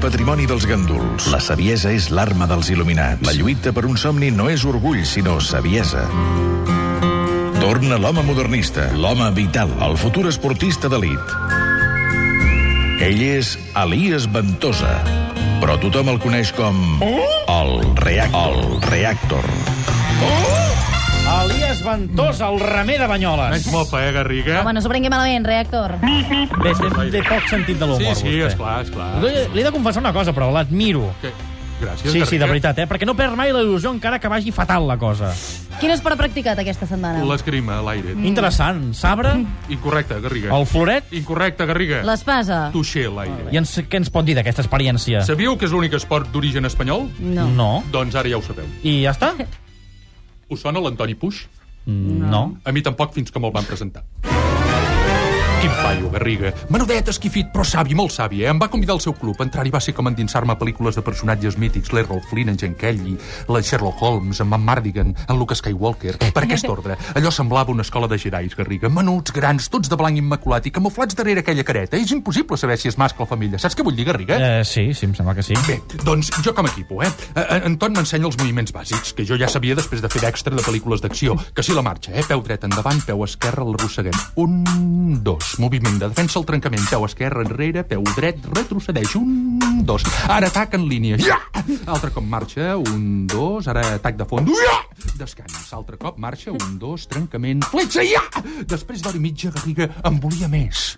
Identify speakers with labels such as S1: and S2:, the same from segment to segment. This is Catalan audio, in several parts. S1: patrimoni dels ganduls. La saviesa és l'arma dels il·luminats. La lluita per un somni no és orgull, sinó saviesa. Torna l'home modernista, l'home vital, el futur esportista d'elit. Ell és Elias Ventosa, però tothom el coneix com... El, reac el Reactor.
S2: Elias Ventós, el remer de Banyoles.
S3: Menys mofa, eh, Garriga?
S4: Home, no s'ho prengui malament, reactor.
S2: Bé, té, té poc sentit de l'humor,
S3: sí, sí,
S2: vostè.
S3: esclar, esclar.
S2: Li, li he de confessar una cosa, però l'admiro.
S3: Que... Gràcies,
S2: Sí, sí, de
S3: Garriga.
S2: veritat, eh? Perquè no perd mai la il·lusió encara que vagi fatal la cosa.
S4: Quin esport ha practicat aquesta setmana?
S3: L'escrima, a l'aire.
S4: Mm.
S2: Interessant. Sabre,
S3: Incorrecte, Garriga.
S2: el floret,
S3: Incorrecte, Garriga.
S4: L'espasa?
S3: Tuixer, a l'aire.
S2: i ens, què ens pot dir d'aquesta experiència?
S3: Sabíeu que és l'únic esport d'origen espanyol?
S4: No.
S2: No.
S3: Doncs ara ja ho sabeu.
S2: I ja està?
S3: Us sona l'Antoni Puix?
S2: No.
S3: A mi tampoc, fins que me'l van presentar. Quin paio, Garriga. Menudet, esquifit, però savi, molt savi, eh? Em va convidar al seu club. Entrar-hi va ser com endinsar-me a pel·lícules de personatges mítics, l'Errol Flynn, en Jen Kelly, la Sherlock Holmes, en Matt Mardigan, en Lucas Skywalker. Per aquest ordre, allò semblava una escola de gerais, Garriga. Menuts, grans, tots de blanc immaculat i camuflats darrere aquella careta. És impossible saber si és mascle o família. Saps què vull dir, Garriga?
S2: Eh, sí, sí, em sembla que sí.
S3: Bé, doncs jo com a equipo, eh? Eh, En Ton m'ensenya els moviments bàsics, que jo ja sabia després de fer d'extra de pel·lícules d'acció. Que sí la marxa, eh? Peu dret endavant, peu esquerre, l'arrosseguem. Un, dos. Moviment de defensa, el trencament. Peu esquerre, enrere, peu dret, retrocedeix. Un, dos. Ara atac en línia. Ja! Altre cop marxa, un, dos. Ara atac de fons. Ja! Descans. Altre cop marxa, un, dos. Trencament, fletxa. Ja! Després d'hora i mitja, Garriga, em volia més.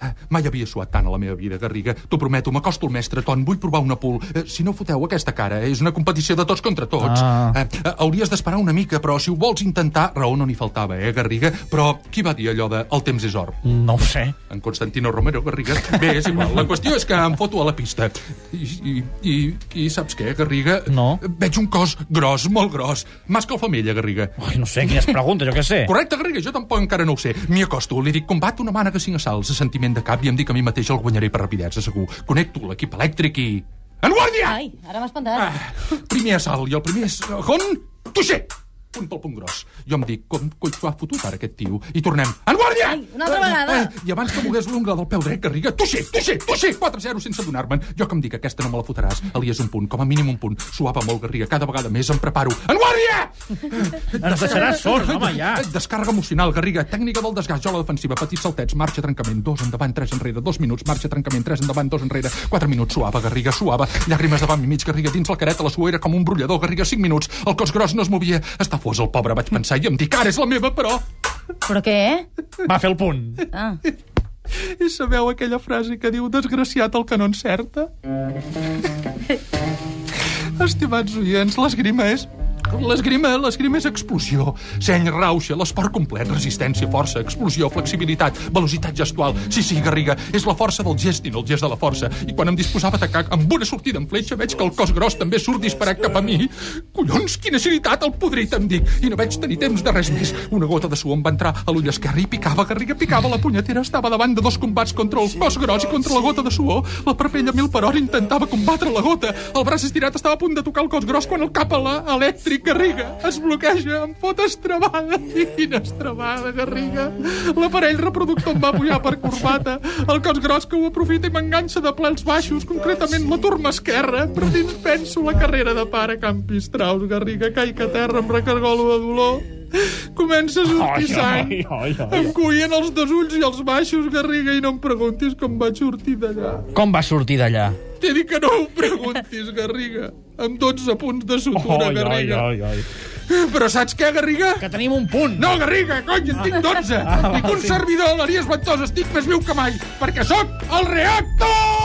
S3: Eh, Mai havia suat tant a la meva vida, Garriga. T'ho prometo, m'acosto al mestre, Ton, vull provar una pool. Eh, Si no foteu aquesta cara, eh, és una competició de tots contra tots.
S2: Ah.
S3: Eh, eh, hauries d'esperar una mica, però si ho vols intentar, raó no n'hi faltava, eh, Garriga? Però qui va dir allò de el temps és or?
S2: No ho sé.
S3: En Constantino Romero, Garriga? Bé, és igual. La qüestió és que em foto a la pista. I, i, i, i saps què, Garriga?
S2: No.
S3: Veig un cos gros, molt gros. Masca o femella, Garriga?
S2: Ui, no sé, quines preguntes, jo què sé.
S3: Correcte, Garriga, jo tampoc encara no ho sé. M'hi acosto, li dic combat una mànega cinc assalts, a sentiment de cap, i em dic a mi mateix el guanyaré per rapidesa, segur. Connecto l'equip elèctric i... En guàrdia!
S4: Ai, ara m'ha espantat.
S3: Ah, primer assalt, i el primer segon... Tuixer! Punt pel punt gros. Jo em dic, com coi s'ho ha fotut ara aquest tio? I tornem. En guàrdia!
S4: Ai, una altra vegada!
S3: eh, I abans que mogués l'ungla del peu dret, Garriga, tuixer, tuixer, tuixer, 4-0 sense donar-me'n. Jo que em dic, aquesta no me la fotràs. Elies un punt, com a mínim un punt. Suava molt, Garriga, cada vegada més em preparo. En guàrdia!
S2: Ens deixaràs sols, home, ja.
S3: Descàrrega emocional, Garriga, tècnica del desgast, jo a la defensiva, petits saltets, marxa, trencament, dos endavant, tres enrere, dos minuts, marxa, trencament, tres endavant, dos enrere, quatre minuts, suava, Garriga, suava, llàgrimes davant i mig, Garriga, dins la careta, la suera com un brollador, Garriga, cinc minuts, el cos gros no es movia, està fos el pobre, vaig pensar, i em dic, ara és la meva, però...
S4: Però què?
S2: Va fer el punt.
S4: Ah.
S3: I sabeu aquella frase que diu, desgraciat el que no encerta? Estimats oients, l'esgrima és... L'esgrima, l'esgrima és explosió. Seny, rauxa, l'esport complet, resistència, força, explosió, flexibilitat, velocitat gestual. Sí, sí, Garriga, és la força del gest i no el gest de la força. I quan em disposava a atacar amb una sortida en fletxa, veig que el cos gros també surt disparat cap a mi. Collons, quina agilitat, el podrit, em dic. I no vaig tenir temps de res més. Una gota de suor em va entrar a l'ull esquerre i picava, Garriga, picava. La punyetera estava davant de dos combats contra el cos gros i contra la gota de suor. La parpella a mil per hora intentava combatre la gota. El braç estirat estava a punt de tocar el cos gros quan el cap a elèctric Garriga es bloqueja, em fot estrabada. Quina estrabada, Garriga. L'aparell reproductor em va pujar per corbata. El cos gros que ho aprofita i m'enganxa de plans baixos, concretament la turma esquerra. Però dins penso la carrera de pare Campistraus, Garriga. Caic a terra, em recargolo de dolor. Comença a sortir sang. Em coïen els dos ulls i els baixos, Garriga, i no em preguntis com vaig sortir d'allà.
S2: Com va sortir d'allà?
S3: T'he dit que no ho preguntis, Garriga. Amb 12 punts de
S2: Oi,
S3: sutura,
S2: oi,
S3: Garriga.
S2: oi, oi.
S3: Però saps què, Garriga?
S2: Que tenim un punt.
S3: No, Garriga, cony, en tinc 12.
S2: Ah,
S3: Dic un
S2: sí.
S3: servidor, l'Arias Ventós, estic més viu que mai, perquè sóc el reactor!